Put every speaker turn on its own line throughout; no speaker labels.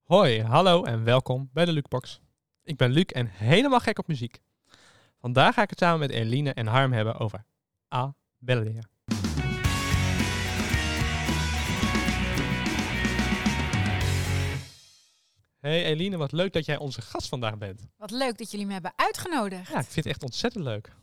Hoi, hallo en welkom bij de Lukebox. Ik ben Luc en helemaal gek op muziek. Vandaag ga ik het samen met Eline en Harm hebben over A. Bellea. Hey Eline, wat leuk dat jij onze gast vandaag bent.
Wat leuk dat jullie me hebben uitgenodigd.
Ja, ik vind het echt ontzettend leuk.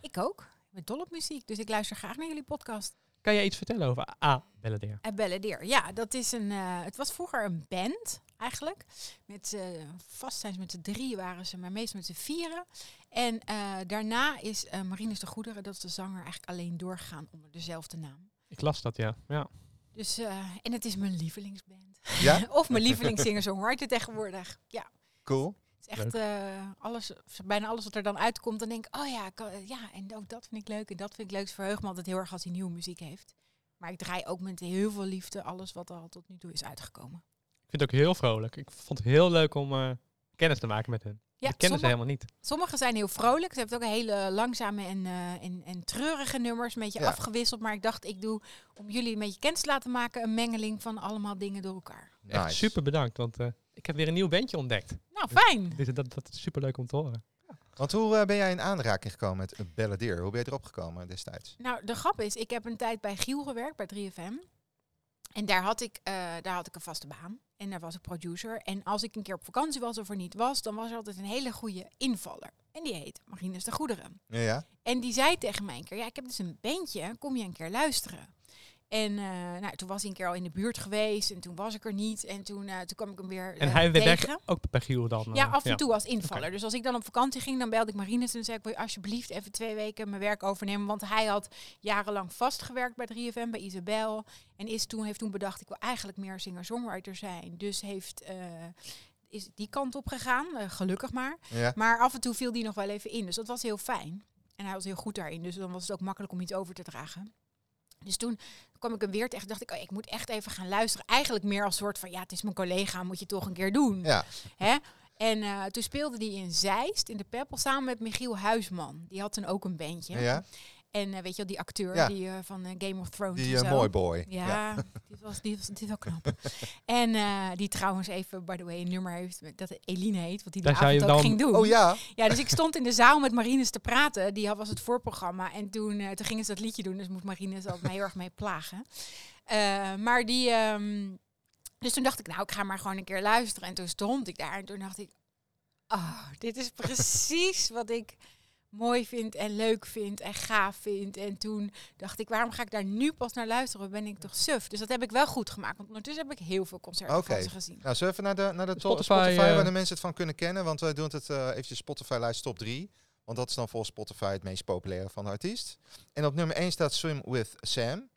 Ik ook. Ik ben dol op muziek, dus ik luister graag naar jullie podcast.
Kan jij iets vertellen over A. Bellea?
En Belladeer. Ja, dat is een. eh, het was vroeger een band eigenlijk. Met eh, vast zijn ze met z'n drie waren ze, maar meestal met z'n vieren. En eh, daarna is eh, Marinus de Goederen, dat is de zanger, eigenlijk alleen doorgegaan onder dezelfde naam.
Ik las dat, ja. ja.
Dus, eh, en het is mijn lievelingsband.
Ja,
of mijn lievelingszinger-songwriter tegenwoordig. Ja.
cool.
Het is echt eh, alles, bijna alles wat er dan uitkomt, dan denk ik, oh ja, ik kan- ja, en ook dat vind ik leuk en dat vind ik leuk. Het verheugt me altijd heel erg als hij nieuwe muziek heeft. Maar ik draai ook met heel veel liefde alles wat al tot nu toe is uitgekomen.
Ik vind het ook heel vrolijk. Ik vond het heel leuk om eh, kennis te maken met hen.
Ja,
ik kende ze
sommige,
helemaal niet.
sommige zijn heel vrolijk. Ze hebben ook hele langzame en, eh, en, en treurige nummers, een beetje
Ja.
afgewisseld. Maar ik dacht, ik doe, om jullie een beetje kennis te laten maken, een mengeling van allemaal dingen door elkaar.
Echt
Nice.
super bedankt, want eh, ik heb weer een nieuw bandje ontdekt.
Nou, fijn!
Dit, dat, dat is super leuk om te horen.
Want hoe eh, ben jij in aanraking gekomen met Belladeer? Hoe ben je erop gekomen destijds?
Nou, de grap is, ik heb een tijd bij Giel gewerkt, bij 3FM. En daar had ik, eh, daar had ik een vaste baan. En daar was ik producer. En als ik een keer op vakantie was of er niet was, dan was er altijd een hele goede invaller. En die heet Marinus de Goederen.
Ja, ja.
En die zei tegen mij een keer, ja, ik heb dus een bandje, kom je een keer luisteren? En eh, nou, toen was hij een keer al in de buurt geweest en toen was ik er niet. En toen, eh, toen kwam ik hem weer
En
eh,
hij werd
tegen.
echt ook bij Giel dan.
Ja,
eh,
af en toe als invaller.
Oké.
Dus als ik dan op vakantie ging, dan belde ik Marinus en dan zei ik, wil je alsjeblieft even twee weken mijn werk overnemen? Want hij had jarenlang vastgewerkt bij 3FM, bij Isabel. En is toen, heeft toen bedacht, ik wil eigenlijk meer singer-songwriter zijn. Dus heeft, eh, is die kant op gegaan, eh, gelukkig maar.
ja.
Maar af en toe viel die nog wel even in, dus dat was heel fijn. En hij was heel goed daarin, dus dan was het ook makkelijk om iets over te dragen. Dus toen kwam ik hem weer tegen, dacht ik, oh, ik moet echt even gaan luisteren. Eigenlijk meer als soort van, ja, het is mijn collega, moet je toch een keer doen.
Ja.
Hè? En eh, toen speelde hij in Zeist, in de Peppel, samen met Michiel Huisman. Die had toen ook een bandje.
Ja, ja.
En eh, weet je wel, die acteur
Ja.
die, eh, van eh, Game of Thrones
Die
en
eh,
zo.
mooi boy.
Ja, Dit, was, dit, was, dit was wel knap. en eh, die trouwens even, by the way, een nummer heeft met- dat Eline heet, wat die de
Daar zou je
avond ook
dan-
ging doen.
Oh ja.
Ja, dus ik stond in de zaal met Marines te praten. Die had- was het voorprogramma. En toen, eh, toen gingen ze dat liedje doen. Dus moet Marines altijd mij heel erg mee plagen. Eh, maar die... ehm, dus toen dacht ik, nou, ik ga maar gewoon een keer luisteren. En toen stond ik daar en toen dacht ik... Oh, dit is precies wat ik mooi vind en leuk vind en gaaf vind. En toen dacht ik, waarom ga ik daar nu pas naar luisteren? Ben ik toch suf? Dus dat heb ik wel goed gemaakt. Want ondertussen heb ik heel veel concerten
Oké.
van ze gezien.
Nou, zullen we even naar de, naar de to-
Spotify,
Spotify,
eh,
waar de mensen het van kunnen kennen? Want wij doen het eh eventjes Spotify lijst top 3. Want dat is dan volgens Spotify het meest populaire van de artiest. En op nummer 1 staat Swim with Sam.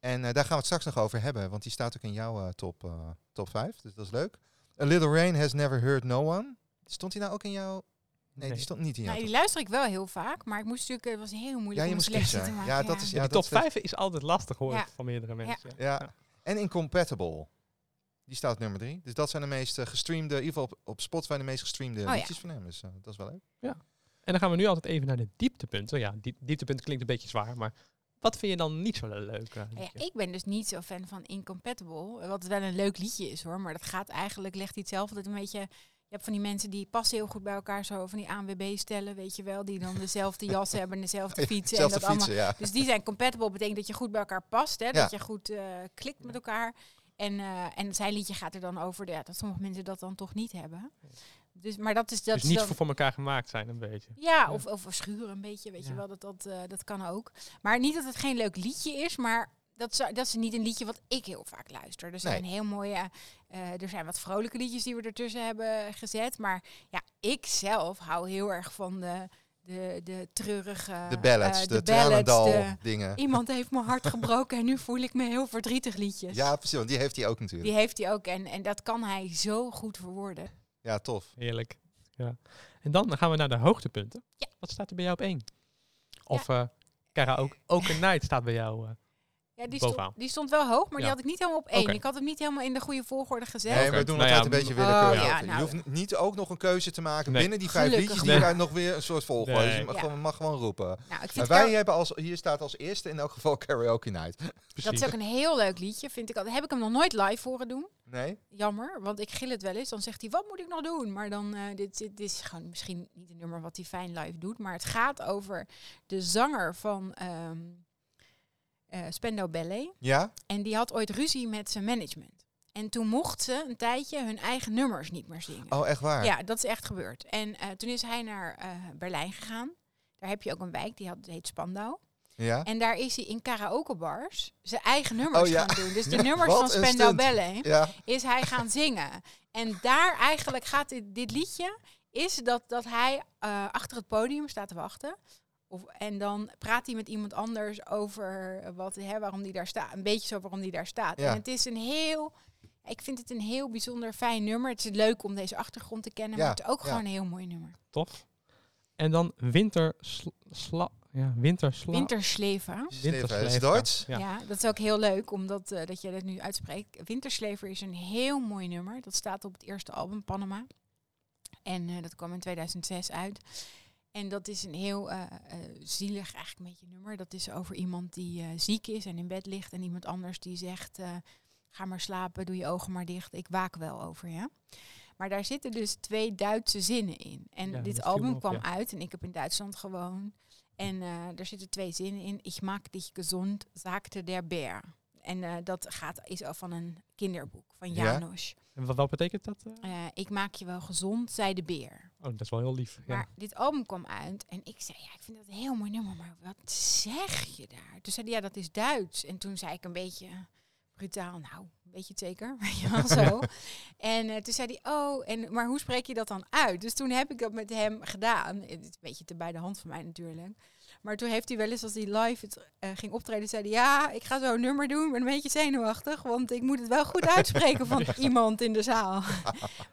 En eh, daar gaan we het straks nog over hebben, want die staat ook in jouw eh, top, eh, top 5. Dus dat is leuk. A Little Rain Has Never Heard No One. Stond die nou ook in jouw... Nee,
Nee.
die stond niet in jouw
Nou,
top
die luister ik wel heel vaak. Maar ik moest natuurlijk... Het was heel moeilijk
Ja, je
om een
moest
selectie
kiezen.
te maken.
Ja, dat is... Ja,
Die
dat
top
is het.
5 is altijd lastig hoor
Ja.
van meerdere mensen.
Ja. En Incompatible. Die staat op nummer 3. Dus dat zijn de meest eh, gestreamde, in ieder geval op, op Spotify de meest gestreamde
Oh ja.
liedjes van hem. Dus eh, dat is wel leuk.
En dan gaan we nu altijd even naar de dieptepunten. Ja, diep, dieptepunt klinkt een beetje zwaar, maar wat vind je dan niet zo leuk? eh,
Ja,
liedje?
ik ben dus niet zo fan van Incompatible. Wat wel een leuk liedje is hoor. Maar dat gaat eigenlijk, legt hij het zelf altijd een beetje. Je hebt van die mensen die passen heel goed bij elkaar. Zo van die ANWB stellen, weet je wel. Die dan dezelfde jas hebben en dezelfde fietsen. en dat
Zelfde
allemaal.
fietsen, ja.
Dus die zijn compatible. Betekent dat je goed bij elkaar past. Hè? Dat je goed eh, klikt met elkaar. En, eh, en zijn liedje gaat er dan over ja, dat sommige mensen dat dan toch niet hebben. Dus, maar dat is dat
dus
is
niet
dan-
voor, voor elkaar gemaakt zijn een beetje.
ja,
Ja.
of, of schuren een beetje, weet
Ja.
je wel, dat, dat, eh, dat kan ook. Maar niet dat het geen leuk liedje is, maar dat, zou- dat is niet een liedje wat ik heel vaak luister. Er zijn
Nee.
heel mooie, eh, er zijn wat vrolijke liedjes die we ertussen hebben gezet. Maar ja, ik zelf hou heel erg van de, de, de treurige...
De ballads,
eh,
de,
ballads,
Tranendal
de
dingen.
Iemand heeft mijn hart gebroken en nu voel ik me heel verdrietig liedjes.
Ja, precies. Want die heeft hij ook natuurlijk.
Die heeft hij ook en, en dat kan hij zo goed verwoorden.
Ja, tof.
Heerlijk. Ja. En dan gaan we naar de hoogtepunten.
Ja.
Wat staat er bij jou op één? Of eh karaoke, ook een night staat bij jou. eh,
Ja, die stond,
Bovenaan.
die stond wel hoog, maar die
Ja.
had ik niet helemaal op één.
Oké.
Ik had hem niet helemaal in de goede volgorde gezet.
Nee,
Oké.
we doen
Nou
altijd
ja,
een beetje
m-
willekeurig.
Oh, ja,
je
nou.
hoeft niet ook nog een keuze te maken
Nee.
binnen die vijf
Gelukkig
liedjes die
wel.
je daar nog weer een soort volgorde.
Nee.
Je mag,
Ja.
gewoon, mag gewoon roepen.
Nou, ik vind
Maar
Car-
wij hebben als, hier staat als eerste in elk geval Karaoke Night.
dat
Precies.
is ook een heel leuk liedje, vind ik. al- Heb ik hem nog nooit live horen doen.
Nee?
Jammer, want ik gil het wel eens. Dan zegt hij, wat moet ik nog doen? Maar dan, eh, dit, dit is gewoon misschien niet een nummer wat hij fijn live doet. Maar het gaat over de zanger van ehm eh, Spendo Ballet.
Ja?
En die had ooit ruzie met zijn management. En toen mocht ze een tijdje hun eigen nummers niet meer zingen.
Oh, echt waar?
Ja, dat is echt gebeurd. En eh, toen is hij naar eh, Berlijn gegaan. Daar heb je ook een wijk, die had, heet Spandau.
Ja?
En daar is hij in karaokebars zijn eigen nummers
Oh ja.
gaan doen. Dus de
Ja,
nummers
wat
van
een
Spandau
stunt.
Ballet
Ja.
is hij gaan zingen. En daar eigenlijk gaat dit, dit liedje, is dat, dat hij eh, achter het podium staat te wachten. Of, en dan praat hij met iemand anders over wat, hè, waarom die daar staat. Een beetje zo waarom die daar staat.
Ja.
En het is een heel, ik vind het een heel bijzonder fijn nummer. Het is leuk om deze achtergrond te kennen, maar
Ja,
het is ook
ja.
gewoon een heel mooi nummer.
Tof. En dan winter sla, sla- ja, winter sla,
Wintersleven.
Steven, is
Wintersleven.
Duits?
Ja.
Ja.
dat is ook heel leuk, omdat eh, dat je dat nu uitspreekt. Winterslever is een heel mooi nummer. Dat staat op het eerste album, Panama. En eh, dat kwam in 2006 uit. En dat is een heel eh, eh, zielig eigenlijk met je nummer. Dat is over iemand die eh, ziek is en in bed ligt. En iemand anders die zegt, eh, ga maar slapen, doe je ogen maar dicht. Ik waak wel over je. Maar daar zitten dus twee Duitse zinnen in. En
Ja, dat
dit
viel
album
me op,
kwam
ja.
uit en ik heb in Duitsland gewoond. En eh, daar zitten twee zinnen in. Ik maak dich gezond, zaakte der beer. En eh, dat gaat, is al van een kinderboek van
Ja?
Janos.
En wat, wat betekent dat? eh?
Eh, ik maak je wel gezond, zei de beer.
Oh, dat is wel heel lief. Ja.
Maar dit album kwam uit en ik zei, ja, ik vind dat een heel mooi nummer, maar wat zeg je daar? Toen zei hij, ja, dat is Duits. En toen zei ik een beetje brutaal, nou, weet je het zeker? Weet je wel, zo. En eh, toen zei hij, oh, en, maar hoe spreek je dat dan uit? Dus toen heb ik dat met hem gedaan. Het is een beetje te bij de hand van mij natuurlijk. Maar toen heeft hij wel eens, als hij live het, eh, ging optreden, zei hij... Ja, ik ga zo'n nummer doen, ik ben een beetje zenuwachtig. Want ik moet het wel goed uitspreken van iemand in de zaal.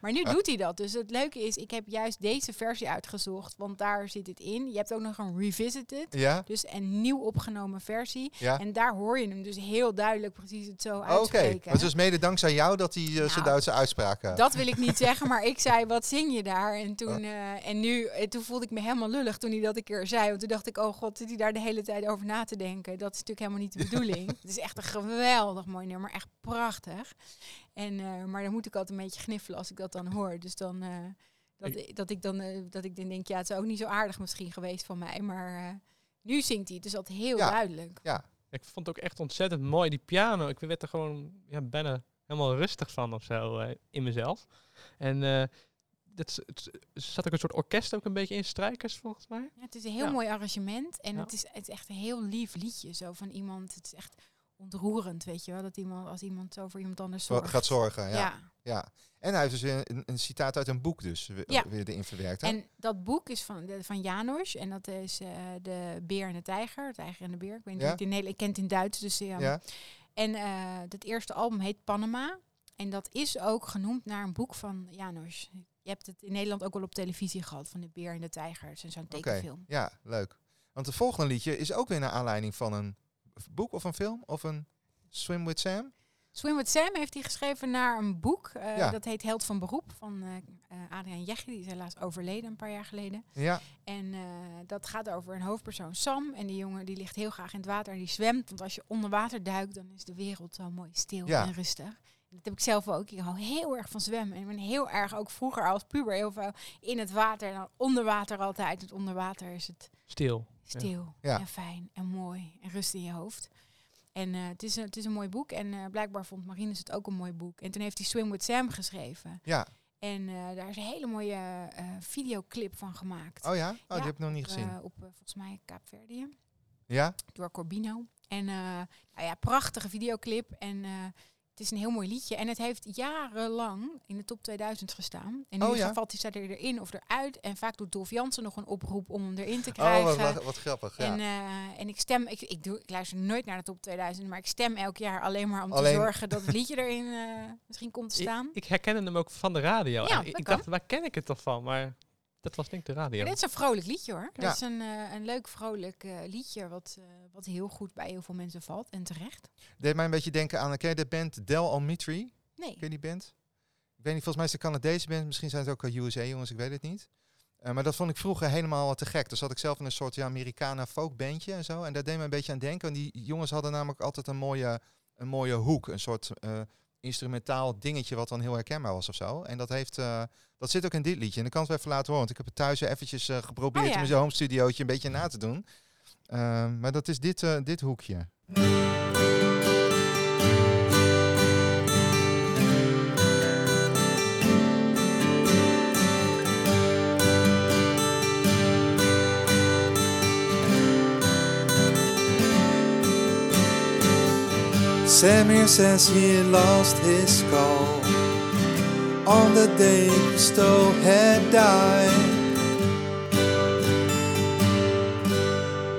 maar
Ah.
nu doet hij dat. Dus het leuke is, ik heb juist deze versie uitgezocht. Want daar zit het in. Je hebt ook nog een revisited.
Ja?
Dus een nieuw opgenomen versie.
Ja? Oh,
En daar hoor je hem dus heel duidelijk precies het zo
Oké,
uitspreken.
dat is dus mede dankzij jou dat hij eh, zijn
Nou,
Duitse uitspraken...
Dat wil ik niet zeggen, maar ik zei, wat zing je daar? En toen, eh, en nu, eh, toen voelde ik me helemaal lullig toen hij dat een keer zei. Want toen dacht ik, oh god, zit hij daar de hele tijd over na te denken? Dat is natuurlijk helemaal niet de bedoeling. Het is echt een geweldig mooi nummer, echt prachtig. En, eh, maar dan moet ik altijd een beetje gniffelen als ik dat dan hoor. Dus dan, eh, dat, ik, dat ik dan, eh, dat ik dan denk, ja, het is ook niet zo aardig misschien geweest van mij. Maar eh, nu zingt hij het dus altijd heel
Ja.
duidelijk.
Ja.
Ik vond het ook echt ontzettend mooi, die piano. Ik werd er gewoon ja, bijna helemaal rustig van of zo eh, in mezelf. En eh dat, is- het, er zat ook een soort orkest ook een beetje in, strijkers volgens mij.
Ja, het is een heel
Ja.
mooi arrangement en
Ja.
het, is, het is echt een heel lief liedje. Zo van iemand, het is echt ontroerend, weet je wel. Dat iemand, als iemand zo voor iemand anders
Zo-
zorgt.
eh, Gaat zorgen, ja.
ja.
ja. En hij heeft dus weer een, een citaat uit een boek dus we-
Ja.
weer erin verwerkt. Hè?
En dat boek is van, de- van Janos en dat is eh, de beer en de tijger. Tijger en de beer. Ik weet niet
Ja.
hoe het in Nederland, ik ken het in Duits. Dus, eh,
ja?
En eh het eerste album heet Panama. En dat is ook genoemd naar een boek van Janos. Je hebt het in Nederland ook wel op televisie gehad van de beer en de tijger. Het is zo'n
Oké,
tekenfilm.
ja, leuk. Want het volgende liedje is ook weer naar aanleiding van een boek of een film of een Swim with Sam.
Swim with Sam heeft hij geschreven naar een boek. eh,
Ja.
Dat heet Held van Beroep van eh eh, Adriaan Jegge. Die is helaas overleden een paar jaar geleden.
Ja,
En eh, dat gaat over een hoofdpersoon Sam. En die jongen die ligt heel graag in het water en die zwemt. Want als je onder water duikt, dan is de wereld zo mooi stil
Ja.
en rustig. Dat heb ik zelf ook. Ik hou heel erg van zwemmen. En ik ben heel erg, ook vroeger als puber, heel veel in het water. En dan onder water altijd. Want onder water is het
Stil.
stil
Ja.
en fijn en mooi en rust in je hoofd. En eh, het, is een, het is een mooi boek en eh, blijkbaar vond Marinus het ook een mooi boek. En toen heeft hij Swim with Sam geschreven.
ja.
En eh, daar is een hele mooie eh, videoclip van gemaakt.
Oh ja? Oh,
Ja,
die heb ik nog niet
op,
gezien.
eh, op eh, volgens mij Kaapverdië
ja?
door Corbino. En eh, nou ja, prachtige videoclip. En eh, het is een heel mooi liedje. En het heeft jarenlang in de top 2000 gestaan. En nu
Oh ja?
valt hij er erin of eruit. En vaak doet Dolf Jansen nog een oproep om hem erin te
Oh,
krijgen.
wat, wat, wat grappig. Ja.
En, eh, en ik stem, ik, ik, doe, ik luister nooit naar de top 2000, maar ik stem elk jaar alleen maar om
Alleen-
te zorgen dat het liedje erin eh, misschien komt te
Ik,
staan.
ik herkende hem ook van de radio.
Ja,
ik
dat
ik dacht, waar ken ik het toch van? Maar dat was denk ik de radio.
Maar dit is een vrolijk liedje hoor.
Ja.
Dit is een, eh, een leuk vrolijk eh, liedje wat, eh, wat heel goed bij heel veel mensen valt. En terecht.
Deed mij een beetje denken aan, ken je de band Del Almitri?
Nee.
Ken je die band? Ik weet niet, volgens mij is het een Canadese band. Misschien zijn het ook eh, USA jongens, ik weet het niet. Eh, maar dat vond ik vroeger helemaal te gek. Dus had ik zelf in een soort ja, Americana folk bandje en zo. En daar deed me een beetje aan denken. Want die jongens hadden namelijk altijd een mooie, een mooie hoek. Een soort eh, instrumentaal dingetje wat dan heel herkenbaar was of zo. En dat, heeft, eh, dat zit ook in dit liedje. En ik kan het wel even laten horen. Want ik heb het thuis weer eventjes eh, geprobeerd
Oh ja.
om in zo'n home studiootje een beetje na te doen. Eh, maar dat is dit, eh, dit hoekje.
Samir says he lost his skull on the day Cousteau had died.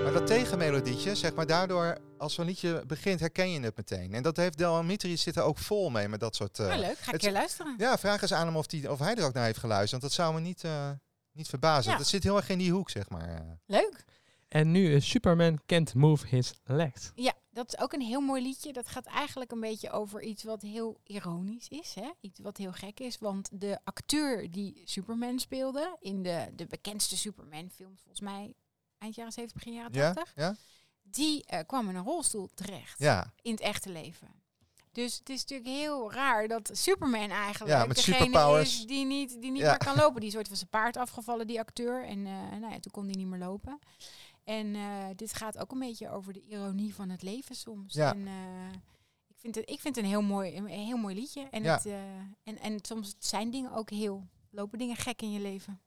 Maar dat tegenmelodietje, zeg maar, daardoor als zo'n liedje begint, herken je het meteen. En dat heeft Del Amitri zitten ook vol mee met dat soort. eh,
Ah, leuk, ga ik
het-
een keer luisteren.
ja, vraag eens aan hem of, die, of hij er ook naar heeft geluisterd. Want dat zou me niet, eh, niet verbazen.
Ja. Ah,
Dat zit heel erg in die hoek, zeg maar. eh.
Leuk.
En nu eh, Superman Can't Move His Legs.
Ja, dat is ook een heel mooi liedje. Dat gaat eigenlijk een beetje over iets wat heel ironisch is. Hè? Iets wat heel gek is. Want de acteur die Superman speelde in de, de bekendste Superman-films, volgens mij eind jaren 70, begin jaren
Ja?
80,
Ja?
die eh, kwam in een rolstoel terecht
Ja.
in het echte leven. Dus het is natuurlijk heel raar dat Superman eigenlijk
Ja, met
degene
superpowers.
is die niet, die niet
Ja.
meer kan lopen. Die is ooit van zijn paard afgevallen, die acteur. En eh, nou ja, toen kon die niet meer lopen. En eh, dit gaat ook een beetje over de ironie van het leven soms.
Ja.
En, eh, ik, vind het, ik vind het een heel mooi, een heel mooi liedje. En,
Ja.
het, eh, en, en soms zijn dingen ook heel... Lopen dingen gek in je leven.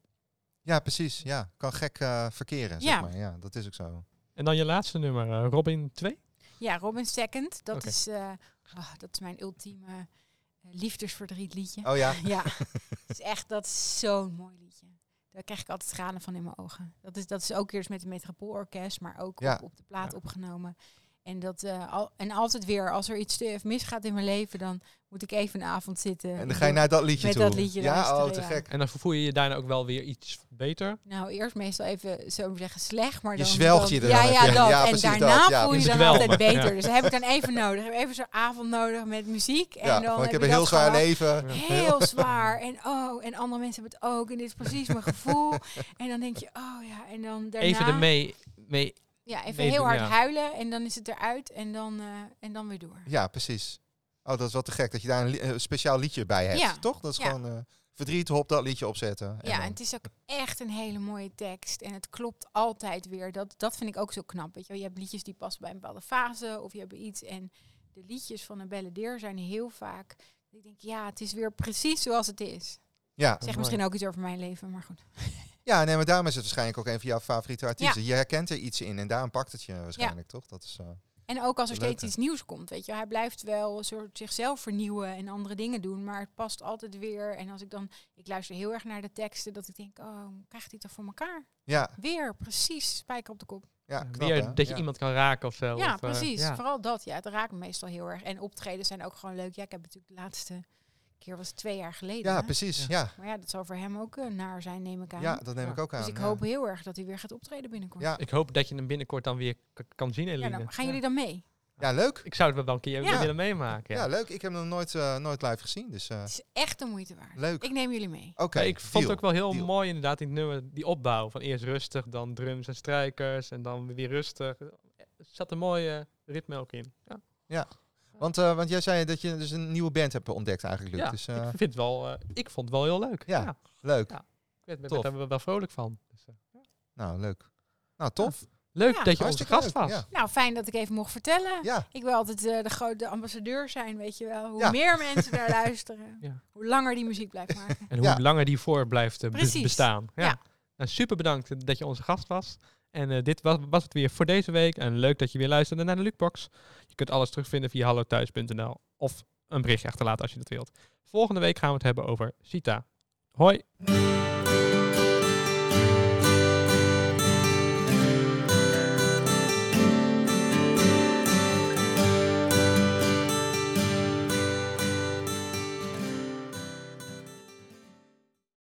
ja, precies. Ja, kan gek eh, verkeren,
Ja.
zeg maar. Ja, dat is ook zo.
En dan je laatste nummer, eh, Robin 2.
Ja, Robin Second. Dat,
Oké.
is, eh, ah, dat is mijn ultieme eh, liefdesverdriet liedje.
Oh ja.
Ja, het is echt, dat is zo'n mooi liedje. Daar krijg ik altijd tranen van in mijn ogen. Dat is, dat is ook weer eens met het Metropoolorkest, maar ook
Ja.
op, op de plaat
Ja.
opgenomen. En, dat, eh, al, en altijd weer, als er iets te even misgaat in mijn leven, dan moet ik even een avond zitten.
En
Ik
dan ga je
wil-
naar dat liedje
Eh, met
toe.
dat liedje
ja, oh,
luisteren,
te
ja.
gek.
En dan voel je je daarna ook wel weer iets beter.
Nou, eerst meestal even, zo maar zeggen, slecht. Maar
Je
dan,
zwelgt je
dan-
er
Ja,
dan
ja,
even in.
dat.
Ja,
en
precies
daarna
dat. Ja,
voel je je dan
precies.
altijd
Kwelmen,
beter.
ja.
Dus dan heb ik dan even nodig. Ik heb even zo'n avond nodig met muziek. En
Ja,
dan
van, ik heb
je
een
dat
heel zwaar
gehad.
leven.
heel zwaar. En oh, en andere mensen hebben het ook. En dit is precies mijn gevoel. En dan denk je, oh ja, en dan daarna...
Even ermee mee
Ja, even
meedoen,
heel hard
ja.
huilen en dan is het eruit en dan, eh, en dan weer door.
Ja, precies. Oh, dat is wel te gek dat je daar een li- eh, speciaal liedje bij hebt,
Ja.
toch? Dat is
Ja.
gewoon eh, verdriet, hop, dat liedje opzetten. en
Ja,
dan-
en het is ook echt een hele mooie tekst. En het klopt altijd weer. Dat, dat vind ik ook zo knap. Weet je, wel. je hebt liedjes die passen bij een bepaalde fase of je hebt iets. En de liedjes van een balladeer zijn heel vaak... Ik denk, ja, het is weer precies zoals het is.
ja.
Zeg misschien ook iets over mijn leven, maar goed.
Ja, nee, maar daarom is het waarschijnlijk ook een van jouw favoriete artiesten. Je herkent er iets in en daarom pakt het je waarschijnlijk, toch? Dat is, eh,
En ook als er
Leuk,
steeds
hè?
iets nieuws komt, weet je. wel. Hij blijft wel een soort zichzelf vernieuwen en andere dingen doen, maar het past altijd weer. En als ik dan, ik luister heel erg naar de teksten, dat ik denk, oh, krijgt hij het er voor elkaar?
ja,
Weer, precies, spijker op de kop.
ja, knap,
weer
hè?
dat je
Ja.
iemand kan raken of zo.
ja,
Of, eh,
precies.
ja.
Vooral dat, ja, het raakt me meestal heel erg. En optredens zijn ook gewoon leuk. Ja, ik heb natuurlijk de laatste keer was het twee jaar geleden.
Ja,
hè.
precies.
Ja.
Ja,
Maar ja, dat zal voor hem ook eh, naar zijn, neem ik
ja.
aan.
dat neem
Ja.
ik ook aan.
dus ik
ja.
hoop heel erg dat hij weer gaat optreden binnenkort.
Ja.
Ik hoop dat je hem binnenkort dan weer k- kan zien,
Ja,
Eline.
nou, gaan
Ja.
jullie dan mee?
Ja, leuk.
Ik zou het wel een keer
Ja.
willen meemaken.
Ja.
Ja.
leuk. Ik heb hem nog nooit, eh, nooit live gezien, dus eh,
Het is echt de moeite waard.
leuk.
Ik neem jullie mee.
Oké,
Maar ik vond
deal.
het ook wel heel
deal.
mooi inderdaad, die, nummer, die opbouw. Van eerst rustig, dan drums en strijkers en dan weer rustig. Er zat een mooie ritme ook in. Ja.
Want, eh, want jij zei dat je dus een nieuwe band hebt ontdekt eigenlijk, Luc.
Ja,
Dus eh,
ik, vind het wel, eh, ik vond het wel heel leuk.
Ja. leuk.
Ja. Ik werd, werd
Tof.
daar wel vrolijk van. Dus, eh,
Nou, leuk. Nou, tof.
Leuk
Ja.
dat je onze
Hartstikke
gast
leuk,
was.
Ja.
Nou, fijn dat ik even mocht vertellen.
ja.
Ik wil altijd eh, de grote ambassadeur zijn, weet je wel. Hoe
Ja.
meer mensen daar luisteren,
Ja.
hoe langer die muziek blijft maken.
En hoe
Ja.
langer die voor blijft eh, be-
Precies.
bestaan. Ja.
Ja.
Nou, super bedankt dat je onze gast was. En eh, dit was, was het weer voor deze week. En leuk dat je weer luisterde naar de Lukebox. Je kunt alles terugvinden via hallothuis.nl of een berichtje achterlaten als je dat wilt. Volgende week gaan we het hebben over Sita. Hoi!